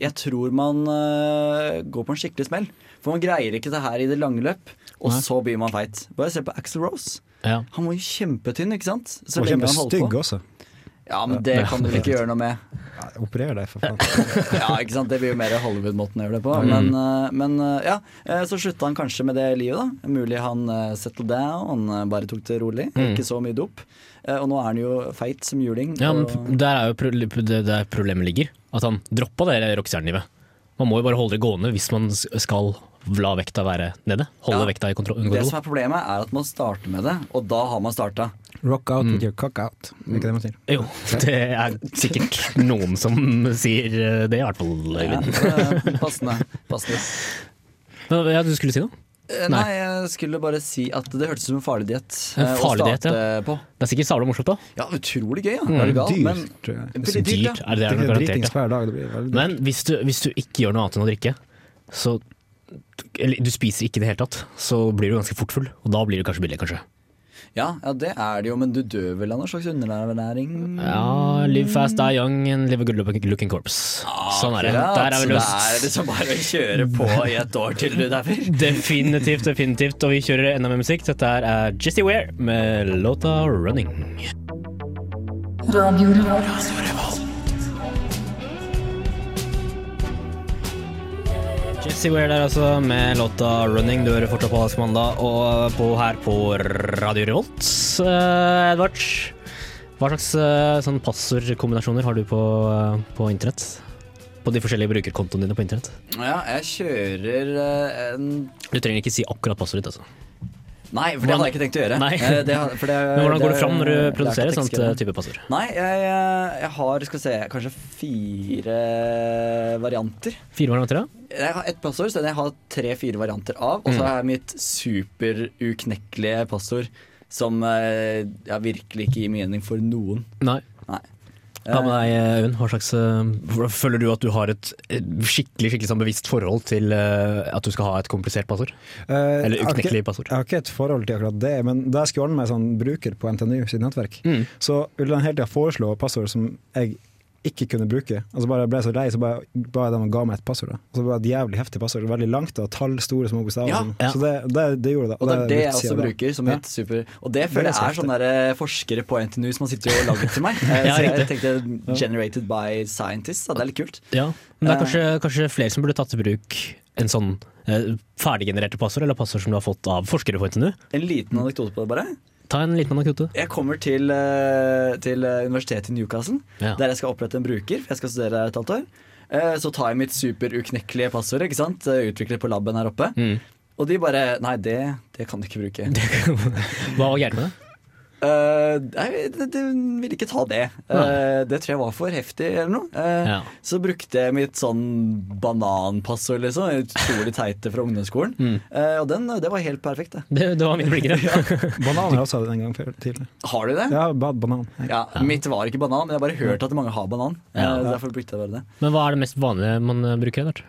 C: jeg tror man eh, går på en skikkelig smell. For man greier ikke det her i det lange løp, og
B: Nei.
C: så blir man feit. Bare se på Axel Rose.
B: Ja.
C: Han var jo kjempetynn, ikke sant? Så
D: Og
C: lenge han holdt
D: kjempestygg
C: på.
D: også.
C: Ja, men det kan du vel ikke gjøre noe med.
D: Ja, Operer deg, for faen.
C: Ja, ikke sant? Det blir jo mer Hollywood-måten å gjøre det på. Men, eh, men eh, ja, eh, så slutta han kanskje med det livet, da. Mulig han eh, settled down, eh, bare tok det rolig. Ikke så mye dop. Eh, Og nå er han jo feit som juling.
B: ja, men
C: og-
B: p- Der er jo pro det, der problemet ligger. At han droppa det der rockestjernelivet. Man må jo bare holde det gående hvis man s- skal la vekta være nede. Holde
C: Ja.
B: vekta i kontroll. under
C: det
B: kontroll.
C: som er problemet, er at man starter med det, og da har man starta.
D: Rock out
B: Mm.
D: with your cock out. Er ikke det man sier?
B: Jo, det er sikkert noen som sier eh, det, i hvert fall.
C: Ja,
B: Øyvind.
C: så, passende. passende.
B: Men, Ja, du skulle si noe?
C: Eh,
B: Nei.
C: Nei, jeg skulle bare si at det hørtes ut som en farlig diett
B: En
C: eh, å
B: farlig diett,
C: starte på.
B: Det er sikkert savla morsomt, da.
C: Ja, utrolig gøy, ja. Er du gal?
D: dyrt,
C: Men
D: tror jeg.
C: veldig dyrt, ja.
B: Dyrt er det, det
D: Det
B: er noe
D: er
B: garantert.
D: dritings
B: Ja.
D: hver dag. Det blir veldig dyrt.
B: Men hvis du, hvis du ikke gjør noe annet enn å drikke, så eller du spiser ikke i det hele tatt, så blir du ganske fort full. Og da blir du kanskje billig, kanskje.
C: Ja, ja, det er det jo, men du dør vel av noen slags underernæring?
B: Ja, Ah, live fast, die young, and live a good looking- looking corpse. Sånn er det.
C: Akkurat,
B: Der er vi
C: Det er
B: løst.
C: liksom bare å kjøre på i et år til du dauer.
B: Definitivt, definitivt. Og vi kjører enda mer musikk. Dette her er Jesse Ware med låta 'Running'.
I: Radio Revolt.
B: Jesse Ware der altså, med låta 'Running'. Du hører fortsatt på Alaska Mandag, og på, her på Radio Revolt. Eh, Edvard, hva slags eh, sånn passordkombinasjoner har du på, eh, på internett? På de forskjellige brukerkontoene dine på internett?
C: Ja, jeg kjører eh, en
B: Du trenger ikke si akkurat passordet ditt, altså.
C: Nei, for det hadde jeg ikke tenkt å gjøre.
B: Nei.
C: Eh, Det, har- for det,
B: Men hvordan går
C: det-
B: det fram når du
C: det er
B: produserer
C: ikke
B: sånt eh,
C: tekstkrevende.
B: type passord?
C: Nei, jeg, eh, jeg har skal vi se, kanskje fire varianter.
B: Fire varianter, ja?
C: Jeg har ett passord, så jeg har tre-fire varianter av. Og så har jeg mitt superuknekkelige passord, som eh, ja, virkelig ikke gir mening for noen.
B: Nei.
C: Nei.
B: Hva med deg, Øyvind? Hva slags eh, hvor- Føler du at du har et eh, skikkelig skikkelig sånn bevisst forhold til eh, at du skal ha et komplisert passord?
D: Eh,
B: Eller
D: jeg har ikke-
B: uknekkelig passord?
D: Jeg har ikke et forhold til akkurat det, men da jeg skulle
C: Mm.
B: Mm.
D: ordne meg sånn bruker på NTNU sitt nettverk, så ville han hele tida foreslå passord som jeg ikke kunne bruke. Altså bare jeg ble så lei, så bare ba jeg dem og ga meg et passord. da. Og så var det et jævlig heftig passord. Veldig langt, da. tall, store, små bokstaver.
C: Ja,
D: sånn.
B: ja.
D: Så det, det, det gjorde
C: Eh,
D: det.
C: Og det er det
D: brukte
C: jeg også
D: siden da.
C: bruker som
D: Ja.
C: mitt super... Og det føler
D: Det er så
C: jeg er sånn der eh, forskere på NTNU som har sittet og laget til meg. Eh,
B: Ja,
C: Så jeg tenkte 'generated by scientists', da. det er litt kult.
B: Ja, men
C: Eh.
B: det er kanskje, kanskje flere som burde tatt i bruk en sånn eh, ferdiggenererte passord, eller passord som du har fått av forskere på NTNU.
C: En liten anekdote på det, bare.
B: Ta en liten anekdote.
C: Jeg kommer til, eh, til eh, universitetet i Newcastle,
B: Ja.
C: der jeg skal opprette en bruker, for jeg skal studere der et halvt år. Eh, Så tar jeg mitt superuknekkelige passord, ikke sant? Eh, utviklet på laben her oppe.
B: Mm.
C: Og de bare Nei, det, det kan du ikke bruke.
B: Hva var gærent med det?
C: Eh, nei, de, de ville ikke ta det. Eh,
B: Nei.
C: det tror jeg var for heftig eller noe. Eh,
B: Ja.
C: Så brukte jeg mitt sånn bananpassord, liksom. Utrolig teite fra ungdomsskolen.
B: Mm.
C: Eh, og den, det var helt perfekt, det.
B: Det, det var mine blinkere.
D: Banan har jeg også hatt en gang før tidligere.
C: Har du det?
D: Ja, bad banan.
C: Ja, Mitt var ikke banan, men jeg har bare hørt at mange har banan. Eh,
B: Ja.
C: derfor brukte jeg bare det.
B: Men hva er det mest vanlige man eh, bruker, Edvard?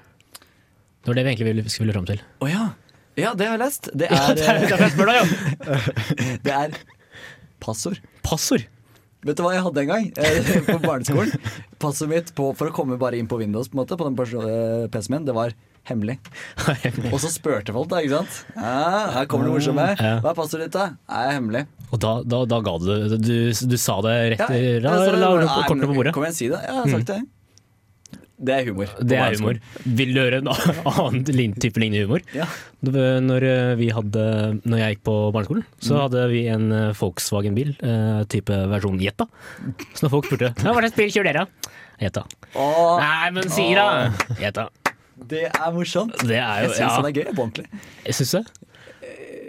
B: Det var det vi egentlig ville- skulle fram til.
C: Å ja. ja, det har jeg lest. Det er, eh,
B: jeg spør deg, ja.
C: det er passord.
B: Passord.
C: Vet du hva jeg hadde en gang eh, på barneskolen? Passordet mitt på, for å komme bare inn på Windows på, en måte, på den perso- eh, PC-en min, det var hemmelig. Og så spurte folk, da. ikke sant? Ja, her kommer det morsomme.
B: Ja.
C: Hva er passordet ditt, da? Nei, jeg er hemmelig.
B: Og da, da, da ga du det. Du, du sa det rett
C: Ja,
B: i
C: jeg
B: ja,
C: sa det,
B: la la-
C: bare, nei,
B: kortene på
C: men
B: bordet. Mm.
C: Kom igjen, si det. Ja, jeg har sagt det. Det er humor. på
B: Det er
C: barneskolen.
B: humor. Vil du høre en annen lin- type lignende humor?
C: Ja.
B: Det var Når, eh, vi hadde, når jeg gikk på barneskolen, så hadde vi en eh, Volkswagen-bil, eh, type versjon Jetta. Så når folk spurte «Ja, hva slags bil kjører dere, da? Jetta.
C: Å,
B: Nei, men si da! Jetta.
C: det er morsomt.
B: Det er
C: Jeg
B: jo
C: syns
B: ja.
C: den er gøy på ordentlig.
B: Jeg syns det.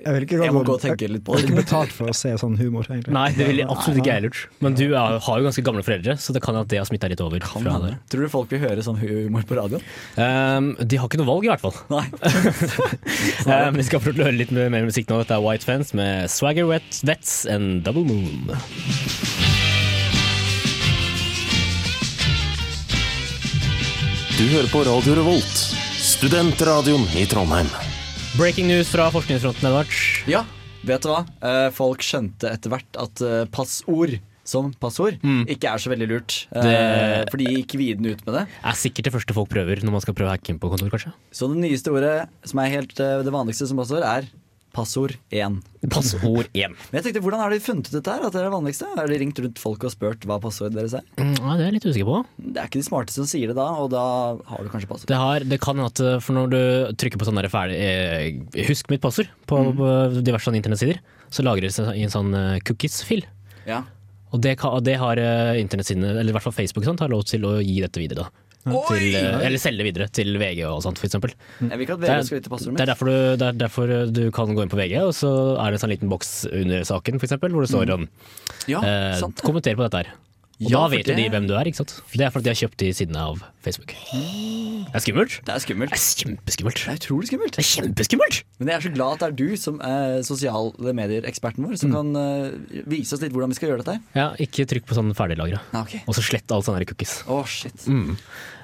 D: Jeg vil ikke
C: Jeg må
D: gå-
C: gå og tenke litt på
D: Jeg er
C: det.
D: ikke betalt for å se sånn humor, egentlig.
B: Nei, det ville jeg absolutt ikke jeg lurt. Men du er, har jo ganske gamle foreldre, så det kan at det har smitta litt over.
C: Kan
B: fra
C: hende.
B: det.
C: Tror du folk vil høre sånn humor på radioen?
B: Ehm, de har ikke noe valg, i hvert fall.
C: Nei.
B: Ehm, vi skal få lov til å høre litt mer mer musikk nå. Dette er White Fence med Swagger Wet Vets and Double Moon.
J: Du hører på Radio Revolt, studentradioen i Trondheim.
B: Breaking news fra forskningsfronten, Edvard.
C: Ja, vet du hva? Eh, folk skjønte etter hvert at eh, passord som passord ikke er så veldig lurt. Eh,
B: Mm. Det-
C: for de gikk viden ut med det.
B: Er sikkert det første folk prøver når man skal prøve å hacke inn på kontor, kanskje.
C: Så det nyeste ordet, som er helt eh, det vanligste som passord, er passord 1.
B: Passord 1.
C: Men jeg tenkte, hvordan har de funnet ut dette her? At det er det vanligste? Har de ringt rundt folk og spurt hva passordet deres er?
B: Mm, ja, det er jeg litt usikker på.
C: Det er ikke de smarteste som sier det da, og da har du kanskje passord.
B: Det, har, det kan hende at eh, for når du trykker på sånn der ferdig eh, Husk mitt passord på, på diverse sånne internettsider, så lagres det i en sånn eh, cookies-fil.
C: Ja.
B: Og det, kan, og det har eh, internettsidene, eller i hvert fall Facebook, sant, har lov til å gi dette videre. da. Til, eh, eller selge det videre til VG og sånt, for eksempel.
C: Jeg vil ikke at
B: Det er,
C: VG skal vite
B: det
C: passordet
B: er
C: mitt.
B: derfor du, det er derfor du kan gå inn på VG, og så er det en sånn liten boks under saken, for eksempel, hvor det står om
C: Ja,
B: eh,
C: Mm. Ah, sant det.
B: kommenter på dette her. Og
C: Ja,
B: da
C: for
B: vet jo de
C: det-
B: hvem du er, ikke sant. Det er fordi de har kjøpt de sidene av Facebook. Det er skummelt.
C: Det er
B: Det
C: skummelt.
B: er kjempeskummelt.
C: Det er utrolig skummelt.
B: Det er kjempeskummelt!
C: Men jeg er så glad at det er du som er sosiale medier-eksperten vår, som kan eh, vise oss litt hvordan vi skal gjøre dette. her.
B: Ja, ikke trykk på sånn ferdiglagra.
C: Ah, ok.
B: Og så slett alle sånne her cookies.
C: Å, shit.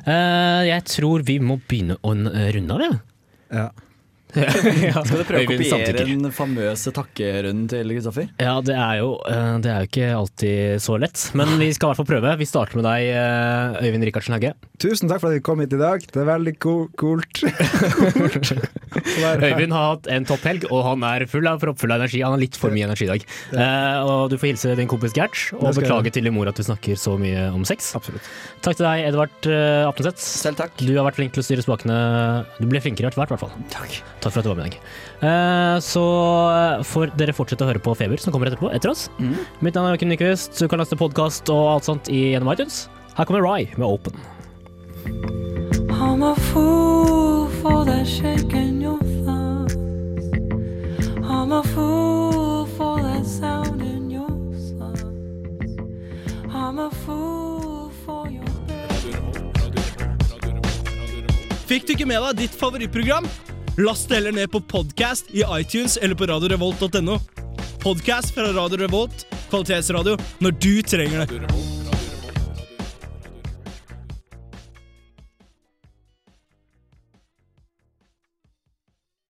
B: Eh, jeg tror vi må begynne å eh, runde av, jeg.
D: Ja.
B: ja,
C: Skal du prøve å
B: Øyvind
C: kopiere
B: samtykker.
C: den famøse takkerunden til Kristoffer?
B: Ja, det er, jo, eh, det er jo ikke alltid så lett, men vi skal i hvert fall prøve. Vi starter med deg, eh, Øyvind Rikardsen Hauge.
D: Tusen takk for at du kom hit i dag. Det er veldig ko kult.
B: Øyvind har hatt en topphelg, og han er full av proppfull av energi. Han har litt for mye energi i dag. Eh, og du får hilse din kompis Gert, og
D: Det skal jeg
B: beklage til din mor at du snakker så mye om sex.
D: Absolutt.
B: Takk til deg, Edvard eh, Apneseth.
C: Selv takk.
B: Du har vært flink til å styre spakene. Du ble flinkere etter hvert, i hvert fall.
C: Takk.
B: Takk for at du var med i dag. Eh, Så eh, får dere fortsette å høre på Feber, som kommer etterpå, etter oss. Mitt navn er Joakim Nyquist. Du kan laste podkast og alt sånt i- gjennom iTunes. Her kommer Rye med Open.
F: I'm a fool for that shake in your thumb. I'm a fool for that sound in your songs. I'm a fool for your
K: Fikk du ikke med deg ditt favorittprogram? Last det heller ned på podcast i iTunes eller på radiorevolt.no. Podcast fra Radio Revolt, kvalitetsradio når du trenger det.